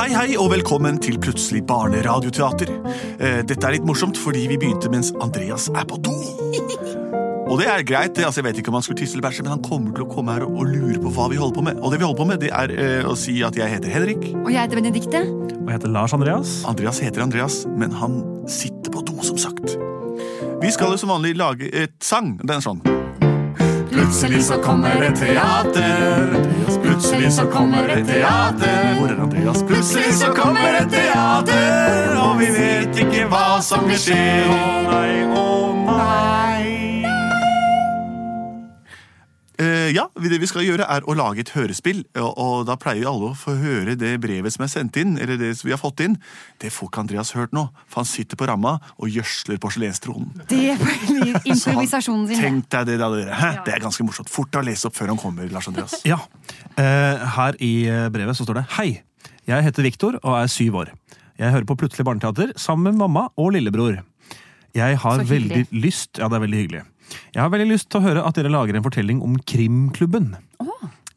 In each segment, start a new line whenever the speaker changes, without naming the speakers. Hei, hei, og velkommen til Plutselig barneradioteater. Eh, Dette er litt morsomt, fordi vi begynte mens Andreas er på do. Og det er greit, det. altså jeg vet ikke om han skulle tisse eller bæsje, men han kommer til å komme her og- og lure på hva vi holder på med. Og det vi holder på med, det er eh, å si at jeg heter Henrik.
Og jeg heter Benedikte.
Og jeg heter Lars Andreas.
Andreas heter Andreas, men han sitter på do, som sagt. Vi skal jo som vanlig lage et sang. Den er sånn.
Plutselig så kommer et
teater.
Plutselig så kommer et teater.
Hvor er Andreas? Plutselig så kommer et teater, og vi vet ikke hva som vil skje. Å nei, å nei. Eh, ja, vi- Det vi skal gjøre, er å lage et hørespill. Og, og da pleier jo alle å få høre det brevet som er sendt inn. eller det som vi har fått inn. Det får ikke Andreas hørt nå, for han sitter på ramma og gjøsler porselenstronen.
Det blir improvisasjonen sin. det.
Tenk deg det, da, dere. Hæ? Det er ganske morsomt. Fort å lese opp før han kommer. Lars Andreas.
Ja. Eh, her i eh, brevet så står det Hei, jeg heter Viktor og er syv år. Jeg hører på Plutselig barneteater sammen med mamma og lillebror. Jeg har
Så hyggelig.
veldig lyst Ja, det er veldig hyggelig. Jeg har veldig lyst til å høre at dere lager en fortelling om Krimklubben.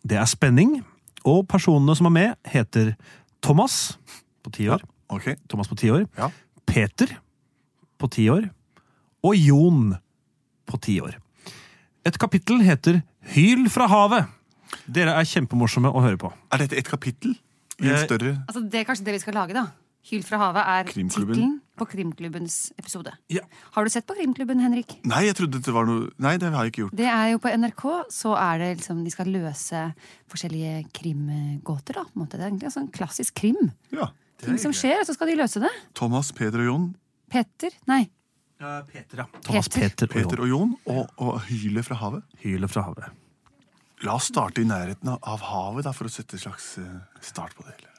Det er spenning, og personene som er med, heter Thomas på ti år.
Ok.
Thomas på ti år.
Ja.
Peter på ti år. Og Jon på ti år. Et kapittel heter Hyl fra havet. Dere er kjempemorsomme å høre på.
Er dette et kapittel i en
Jeg-
større
Altså, det er kanskje det vi skal lage, da. Hyl fra havet er
Krimklubben.
tittelen på Krimklubbens episode.
Ja.
Har du sett på Krimklubben, Henrik?
Nei, jeg trodde det var noe Nei, det har jeg ikke gjort.
Det er jo på NRK, så er det liksom De skal løse forskjellige krimgåter, da. På en måte. Det er egentlig en sånn klassisk krim.
Ja.
Ting som skjer, og så skal de løse det.
Thomas, Peder og Jon.
Petter? Nei.
Peter, ja. Thomas
Peter.
Peter,
Peter
og
og Jon og, og hylet fra havet.
Jon. Hylet fra havet.
La oss starte i nærheten av- av havet, da, for å sette en slags eh, start på det hele.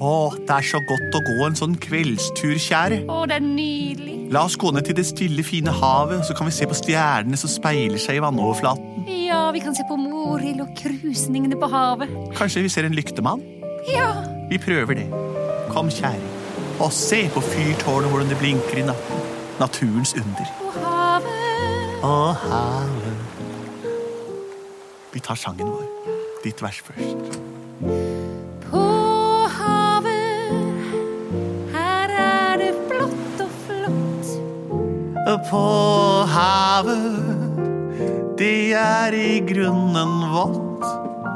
Å, det er så godt å gå en sånn kveldstur, kjære.
Å, det er nydelig!
La oss gå ned til det stille, fine havet, så kan vi se på stjernene som speiler seg i vannoverflaten.
Ja, vi kan se på Morild og krusningene på havet.
Kanskje vi ser en lyktemann?
Ja!
Vi prøver det. Kom, kjære. Og se på fyrtårnet, hvordan det blinker i natten. Naturens under.
Og havet
Og havet. Vi tar sangen vår. Ditt vers først.
På havet Her er det blått og flott
På havet, det er i grunnen vått.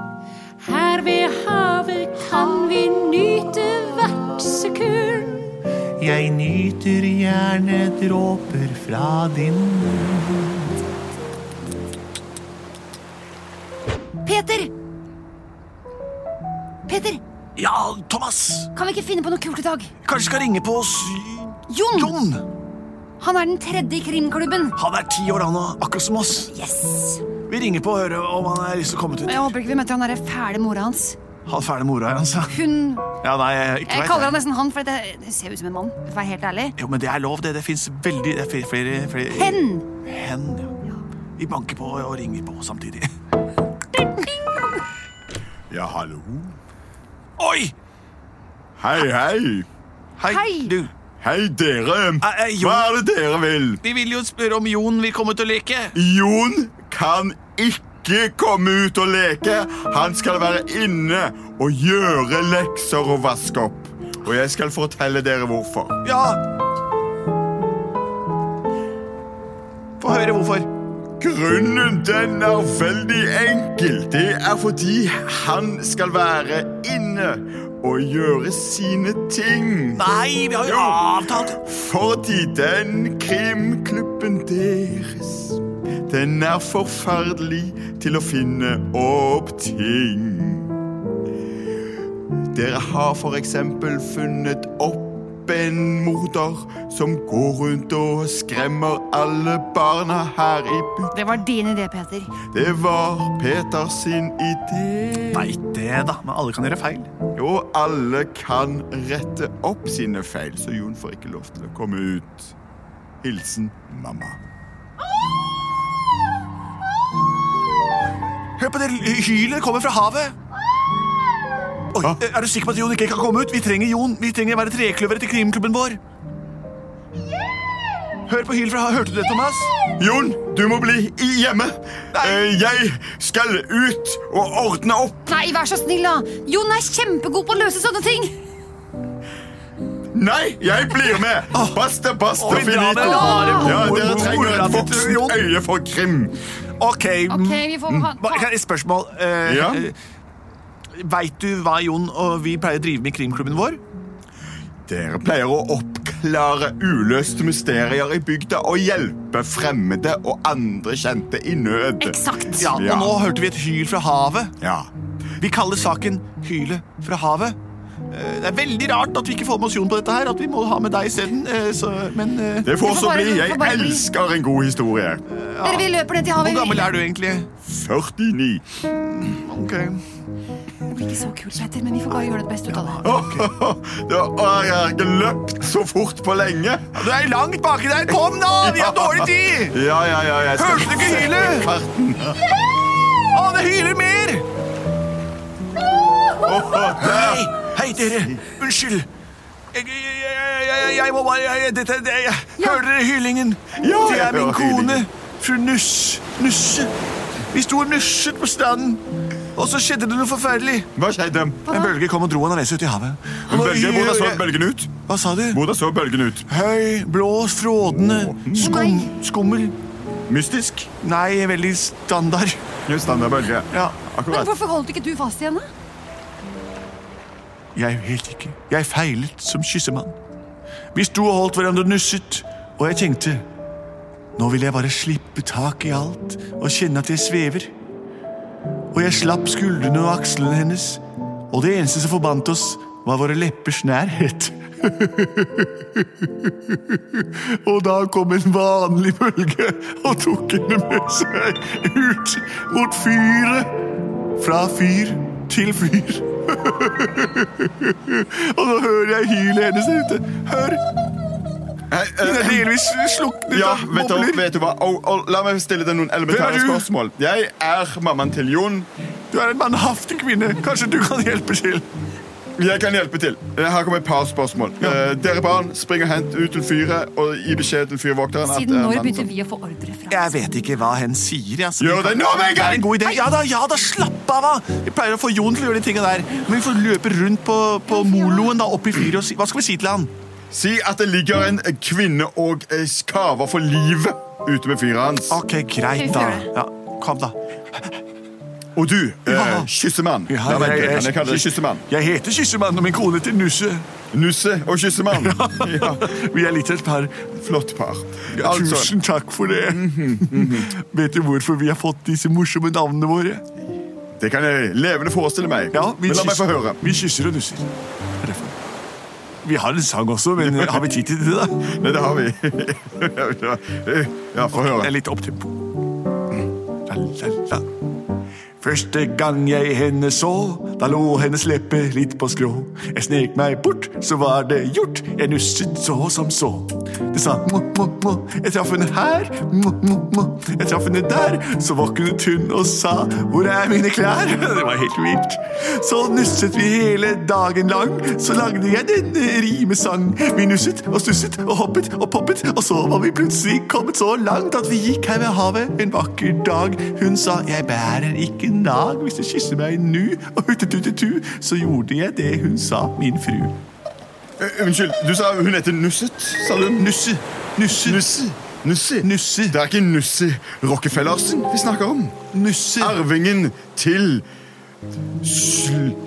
Her ved havet kan vi nyte hvert sekund
Jeg nyter gjerne dråper fra din
Peter! Peter,
Ja, Thomas!
kan vi ikke finne på noe kult i dag?
Kanskje skal ringe på oss
Jon!
Jon!
Han er den tredje i krimklubben
Han er ti år, han òg. Akkurat som oss.
Yes!
Vi ringer på og hører om han har lyst til å komme ut.
Jeg håper ikke vi møter han der fæle mora hans
Han fæle mora hans, ja.
Hun,
altså. Ja, nei, jeg, ikke
jeg
vet jeg.
kaller han nesten han For det, det ser ut som en mann, for å være helt ærlig
Jo, men det er lov, det. Det fins veldig det er flere, flere, flere
Hen!
Hen, ja. Vi banker på og ringer på samtidig.
Ja, hallo.
Oi!
Hei, hei.
Hei,
Hei!
du.
Hei, dere.
Hei, hei, Ah, eh, Jon.
Hva er det dere vil?
Vi vil jo spørre om Jon vil komme ut og leke.
Jon kan ikke komme ut og leke. Han skal være inne og gjøre lekser og vaske opp. Og jeg skal fortelle dere hvorfor.
Ja! Få høre hvorfor.
Grunnen den er veldig enkel. Det er fordi han skal være inne og gjøre sine ting.
Nei, vi har jo
Jo.
avtalt
Fordi den krimklubben deres Den er forferdelig til å finne opp ting Dere har for eksempel funnet opp en morder Som går rundt og skremmer alle barna her i byen
Det var din idé, Peter
Det var Peter sin idé
Nei, det, da. Men alle kan gjøre feil.
Og alle kan rette opp sine feil, så Jon får ikke lov til å komme ut. Hilsen mamma.
Hør på det l- hylet kommer fra havet. Oi,
Hva?
Er du sikker på at Jon ikke kan komme ut? Vi trenger Jon. Vi trenger å være trekløveret til krimklubben vår. Hør på hylet fra havet. Hørte du det, Thomas?
Jon, du må bli i- hjemme. Eh, Jeg skal ut og ordne opp.
Nei, vær så snill, da! Jon er kjempegod på å løse sånne ting!
Nei, jeg blir med. Basta, basta,
Ah. Oi, ja,
finito.
men har det
Ja,
gode,
dere
gode
trenger et
relativt, Jon.
voksent øye for krim.
Ok,
Ok, vi får ha
Mm. Bare kan jeg et spørsmål. Eh,
Ja?
Veit du hva Jon og vi pleier å drive med i krimklubben vår?
Dere pleier å oppklare uløste mysterier i bygda og hjelpe fremmede og andre kjente i nød.
Eksakt!
Ja, Og
Ja.
nå hørte vi et hyl fra havet.
Ja.
Vi kaller saken 'Hylet fra havet'. Eh, Det er veldig rart at vi ikke får med oss Jon på dette. her, at vi må ha med deg isteden. eh, så- Men eh,
Det får
får
så
bare-
bli.
får
Jeg
bare bli.
elsker en god historie.
Dere, vi løper ned til
hvor
havet.
gammel er du egentlig? eh,
49.
Ok.
Det blir ikke så kult, Petter, men vi får bare gjøre det beste ut av det.
Åh, da har jeg ikke løpt så fort på lenge.
Du er langt baki der. Kom, da! Vi har dårlig tid!
Ja, ja, ja. Jeg skal
Hørte du ikke hylet?
Karten.
Å, det hyler mer!
Åh, der.
Hei, hei dere. Unnskyld. Jeg, jeg, jeg, jeg, jeg må bare jeg, jeg- dette, det, jeg, Hører dere hylingen?
Ja,
det er
jeg
min
hører
kone,
hylingen.
fru Nuss. Nusse. Vi sto og nusset på stranden, og så skjedde det noe forferdelig.
Hva skjedde?
En bølge kom og dro han av ut i havet. Og nå-
Bølge, hvordan så bølgen ut?
Hva sa du?
Hvordan så bølgen ut?
Høy, blå, frådende, skum, skummel.
Mystisk?
Nei, veldig standard.
Jo, Standardbølge.
Ja.
Men
Akkurat.
hvorfor holdt ikke du fast i henne?
Jeg vet ikke. Jeg feilet som kyssemann. Vi sto og holdt hverandre og nusset, og jeg tenkte Nå vil jeg bare slippe tak i alt og kjenne at jeg svever. Og jeg slapp skuldrene og akslene hennes, og det eneste som forbandt oss, var våre leppers nærhet. og da kom en vanlig bølge og tok henne med seg ut mot fyret. Fra fyr til fyr. Og nå hører jeg hylet hennes der ute. Hør!
Hei,
Hun er
eh,
delvis sluknet
Ja,
av
vet du,
bobler.
vet du hva? Au, au, la meg stille deg noen
Hvem
elementære
er du?
spørsmål. Jeg er mammaen til Jon.
Du er en mannhaftig kvinne. Kanskje du kan hjelpe til?
Jeg kan hjelpe til. Eh, Her kommer et par spørsmål. Eh, dere barn, spring og hent ut til fyret og gi beskjed til fyrvokteren. at,
Siden
eh,
når
mannen
begynte
som-
vi å få ordre fra
Jeg vet ikke hva hen sier. Altså.
Gjør det nå med en
Det er en
gang!
god idé. Ja da, ja da, slapp av, da! Vi pleier å få Jon til å gjøre de tinga der. Men vi får løpe rundt på, på moloen da, opp i fyret og si Hva skal vi si til han?
Si at det ligger en eh, kvinne og eh, skaver for livet ute ved fyret hans.
Ok, greit, da. Ja, kom, da.
Og du,
Ja.
eh, kyssemann. La meg ikke, kan jeg kalle deg kyssemann.
Jeg heter Kyssemann, og min kone heter Nusse.
Nusse og kyssemann. Ja,
Vi er litt av et par.
flott par.
Ja,
Altså, Mhm,
Tusen takk for det. Vet du hvorfor vi har fått disse morsomme navnene våre?
det kan jeg levende forestille meg.
vi
Men la meg
kysser-
få høre.
Vi kysser og nusser. Er det for- Vi har en sang også, men har vi tid til det, da?
Nei, det har vi. ja, få
Det er
høre.
litt opptempo. Mm. La, la, la. Første gang jeg henne så, da lå hennes leppe litt på skrå. Jeg snek meg bort, så var det gjort. Jeg nusset så som så. Det sa må, må, må. Jeg traff henne her, må, må, må. Jeg traff henne der. Så våknet hun og sa hvor er mine klær? Det var helt vilt. Så nusset vi hele dagen lang. Så lagde jeg denne rimesang. Vi nusset og stusset og hoppet og poppet, og så var vi plutselig kommet så langt at vi gikk her ved havet en vakker dag. Hun sa 'jeg bærer ikke nag hvis du kysser meg nu', og huttetutetu, så gjorde jeg det hun sa, min fru.
Eh, Unnskyld, du sa hun heter Nusset, sa du?
Nusse, nusse,
Nusse. Nusse.
Nusse.
Det er ikke Nusse Rockefellersen vi snakker om.
nusse.
Arvingen til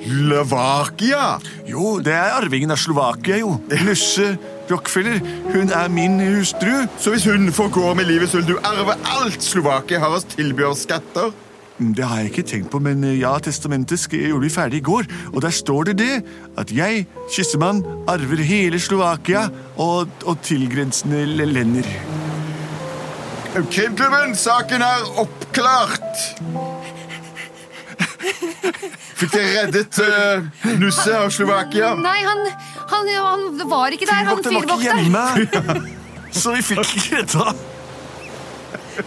Slovakia.
Jo, det er arvingen av Slovakia, jo. Nusse Rockefeller. Hun er min hustru.
Så hvis hun forgår med livet, så vil du arve alt Slovakia har oss tilbyr skatter.
Mm, Det har jeg ikke tenkt på, men eh, ja, testamentet sk- gjorde vi ferdig i går. Og der står det det, at jeg, kyssemann, arver hele Slovakia og, og tilgrensende l- lender.
Krimklubben, saken er oppklart. Fikk dere reddet eh, Nusse av Slovakia?
Nei, han, han, han var ikke der, han
Fyrvokteren var ikke
fyrvokteren.
hjemme, så vi fikk ikke redda.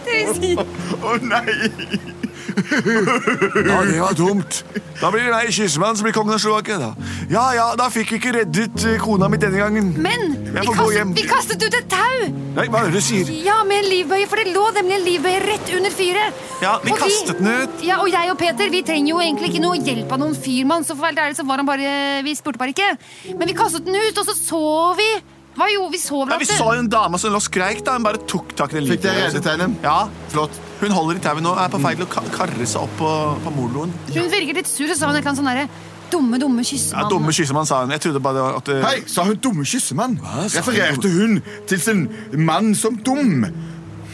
Dere sier-
Å nei!
Ja, det var dumt. Da blir det meg, Kyssemann, som blir kongen av Slovakia. da. Ja, ja, da fikk vi ikke reddet eh, kona mi denne gangen.
Men
Jeg
vi
får gå hjem.
kastet, vi kastet ut et tau!
Nei, hva er det du sier?
Ja, med en livbøye, for det lå nemlig en livbøye rett under fyret.
Ja, vi
Og
kastet den ut.
Ja, Og jeg og Peter vi trenger jo egentlig ikke noe hjelp av noen fyrmann. Så for å være helt ærlig så var han bare, vi spurte bare ikke. Men vi kastet den ut, og så så vi Hva jo, vi så vel
Ja,
at
Vi
det-
så jo en dame som lå og skreik. da. Hun bare tok tak i det
Fikk dere reddet henne?
Ja.
Flott.
Hun holder i tauet nå og er på feil til å ka- karre seg opp på, på moloen.
Hun virker litt sur, og så sa hun et eller annet sånn derre dumme, dumme
Ja,
kyssemann.
Dumme kyssemann, sa hun. Jeg trodde bare det var at eh,
Hei, sa hun dumme kyssemann?
Hva sa hun?
Refererte hun til sin mann som dum?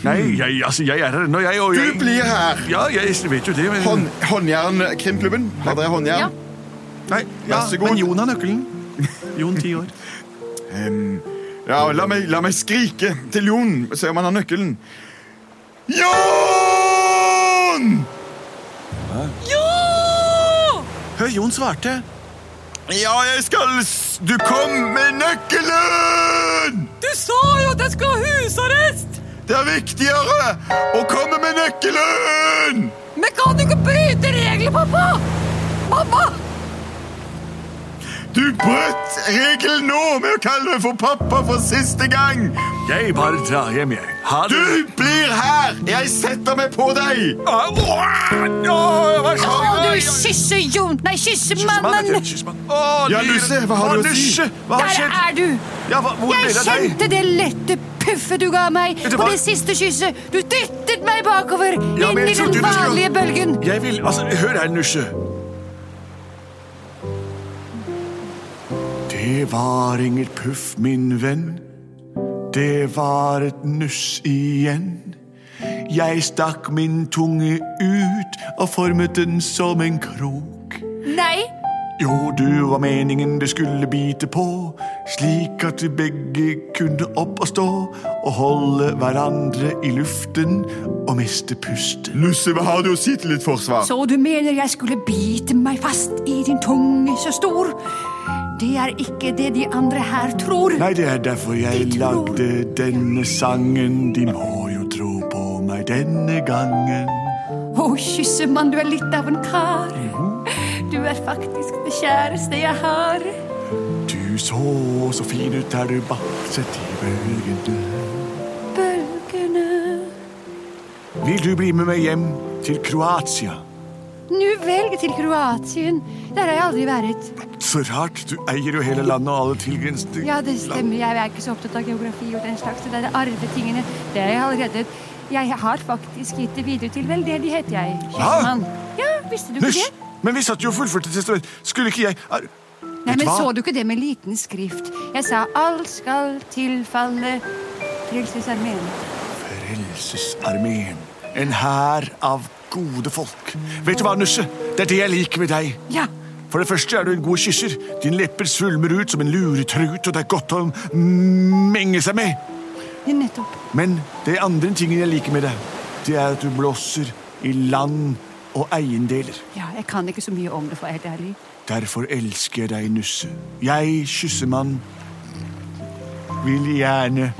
Nei, jeg, altså, jeg er her ennå, jeg. Og
Du
jeg,
blir her.
Ja, jeg vet jo det, men
Hånd, håndjern, krimklubben. Har dere
ja.
håndjern?
Nei, ja,
Vær så god.
Men Jon har nøkkelen. Jon, ti år.
Ehm, ja, la meg, la meg skrike til Jon, se om han har nøkkelen. Jon!
Hør, Jon svarte.
Ja, jeg skal s- Du kom med nøkkelen!
Du sa jo at jeg skulle ha husarrest!
Det er viktigere å komme med nøkkelen!
Men kan du ikke bryte regler, pappa? Mamma!
Du brøt regelen nå med å kalle meg for pappa for siste gang!
Jeg bare drar hjem, jeg. Ha det.
Du blir her! Jeg setter meg på deg!
Au, au, hva sa
Å, du
jeg?
kysse Jon Nei, kysse
Kyssemann,
mannen!
heter jeg. Kyssemann.
Ja, Nusse, hva har du å si?
Nusse, Hva har
Der
skjedd?
er du!
Ja, hva, hvor
Jeg
ble det av deg?
kjente det lette puffet du ga meg
Vet du
på
hva?
det siste kysset. Du dyttet meg bakover
Ja,
inn
men
i
jeg
den
trodde du skulle-
vanlige bølgen.
Jeg vil Altså, hør her, Nusse. Det var inget puff, min venn. Det var et nuss igjen. Jeg stakk min tunge ut og formet den som en krok.
Nei,
Jo, du var meningen det skulle bite på, slik at vi begge kunne opp og stå og holde hverandre i luften og miste pusten.
Nusse, hva har du å si til ditt forsvar?
så du mener jeg skulle bite meg fast i din tunge så stor? Det er ikke det de andre her tror.
Nei, det er derfor jeg
De tror-
lagde denne sangen. De må jo tro på meg denne gangen.
Å, kyssemann, du er litt av en kar. Du er faktisk det kjæreste jeg har.
Du så så fin ut der du bakset i bølgene.
Bølgene
Vil du bli med meg hjem til Kroatia?
Nu vel til Kroatien. Der har jeg aldri vært.
Så rart. Du eier jo hele landet og alle tilgrensende
Ja, det stemmer. Jeg er ikke så opptatt av geografi og den slags. Det er arvetingene. Det er jeg allerede Jeg har faktisk gitt det videre til veldedig, heter jeg. Kjøpmann. Ja, visste du ikke
Hysj!
det?
Men vi satt jo og fullførte testament. Skulle ikke jeg er,
Nei,
Vet du
men
hva?
så du ikke det med liten skrift? Jeg sa alt skal tilfalle Frelsesarmeen.
Frelsesarmeen. En hær av gode folk. Vet du hva, Nusse? Det er det jeg liker med deg.
Ja.
For det første er du en god kysser. Dine lepper svulmer ut som en luretrut, og det er godt å menge seg med.
Nettopp.
Men det andre tingen jeg liker med deg, det er at du blåser i land og eiendeler.
Ja, jeg kan ikke så mye om det, for å være helt ærlig.
Derfor elsker jeg deg, Nusse. Jeg, kyssemann, vil gjerne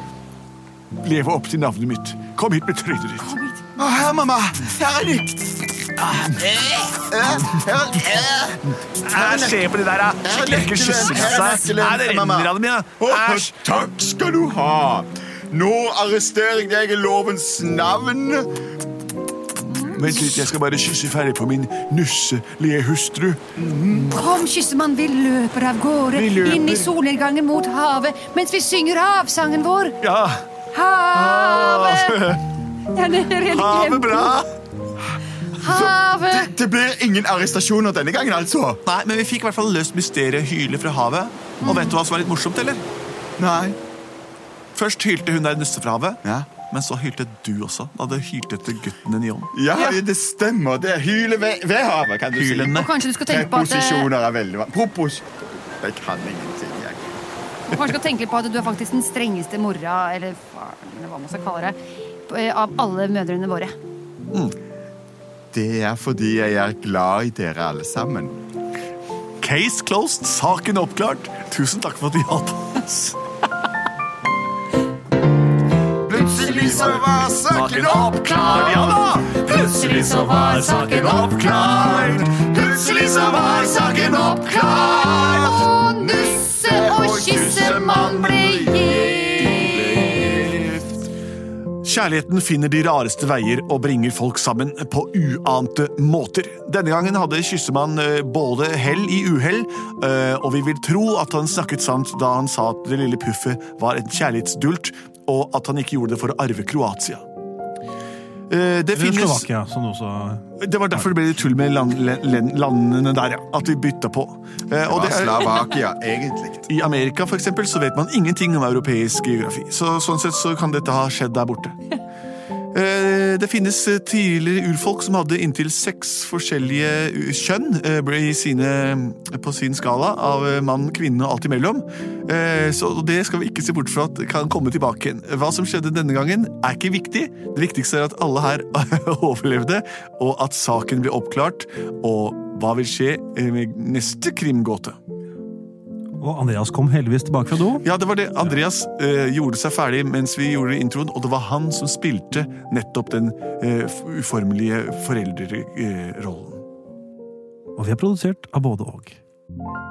leve opp til navnet mitt. Kom hit med trynet ditt.
Kom hit.
Å, her, mamma! Her er nytt!
Æsj, se på det der, da.
Æsj,
Lekker kyssing av seg.
Æsj,
Nei, det
mamma.
renner av dem,
Å,
ja. Æsj.
takk skal du ha! Nå arresterer jeg deg i lovens navn.
Vent litt, jeg skal bare kysse ferdig på min nusselige hustru.
Kom, kyssemann, vi løper av gårde
Vi løper.
inn i solnedgangen mot havet mens vi synger havsangen vår.
Ja, Ah.
Havet! Ja, det er helt
ha det
glemt.
bra.
Havet!
Det blir ingen arrestasjoner denne gangen, altså.
Nei, men vi fikk i hvert fall løst mysteriet hyle fra havet. Og vet du hva som var litt morsomt, eller?
Mm. Nei.
Først hylte hun der nusse fra havet,
Ja.
men så hylte du også. Da du hylte etter gutten din i ånd.
Ja,
Ja.
det stemmer. Det er hyle ved, ved havet, kan du
Hylende.
Og kanskje du skal
si.
tenke på at, eh,
Preposisjoner er veldig vanskelig. Propos... Jeg kan ingenting, jeg.
kanskje du skal tenke litt på at du er faktisk den strengeste mora, eller faren, eller hva man skal kalle det, eh, av alle mødrene våre.
Det er fordi jeg er glad i dere alle sammen.
Case closed, saken oppklart. Tusen takk for at vi hjalp oss.
Plutselig så var saken
oppklart, ja da!
Plutselig så var saken oppklart. Plutselig så var saken oppklart. Og nusse og kysse, man ble gift.
Kjærligheten finner de rareste veier og bringer folk sammen på uante måter. Denne gangen hadde Kyssemann eh, både hell i uhell, eh, og vi vil tro at han snakket sant da han sa at det lille puffet var en kjærlighetsdult, og at han ikke gjorde det for å arve Kroatia. Eh, Det
Eller
finnes
Slovakia, som det også
Det var derfor det ble litt tull med land, land, landene der, ja. At vi bytta på. Eh, og
Hva
det
er
er,
Slavakia egentlig?
I Amerika for eksempel, så vet man ingenting om europeisk geografi. Så, sånn sett så kan dette ha skjedd der borte. Eh, Det finnes eh, tidligere urfolk som hadde inntil seks forskjellige eh, kjønn eh, ble i sine, eh, på sin skala av eh, mann, kvinne og alt imellom. Eh, Så det skal vi ikke se bort fra at kan komme tilbake igjen. Hva som skjedde denne gangen, er ikke viktig. Det viktigste er at alle her overlevde, og at saken ble oppklart. Og hva vil skje eh, med neste krimgåte?
Og Andreas kom heldigvis tilbake fra do.
Ja, det var det. Andreas eh, gjorde seg ferdig mens vi gjorde introen, og det var han som spilte nettopp den eh, f- eh, uformelige foreldrerollen.
Og vi er produsert av både og.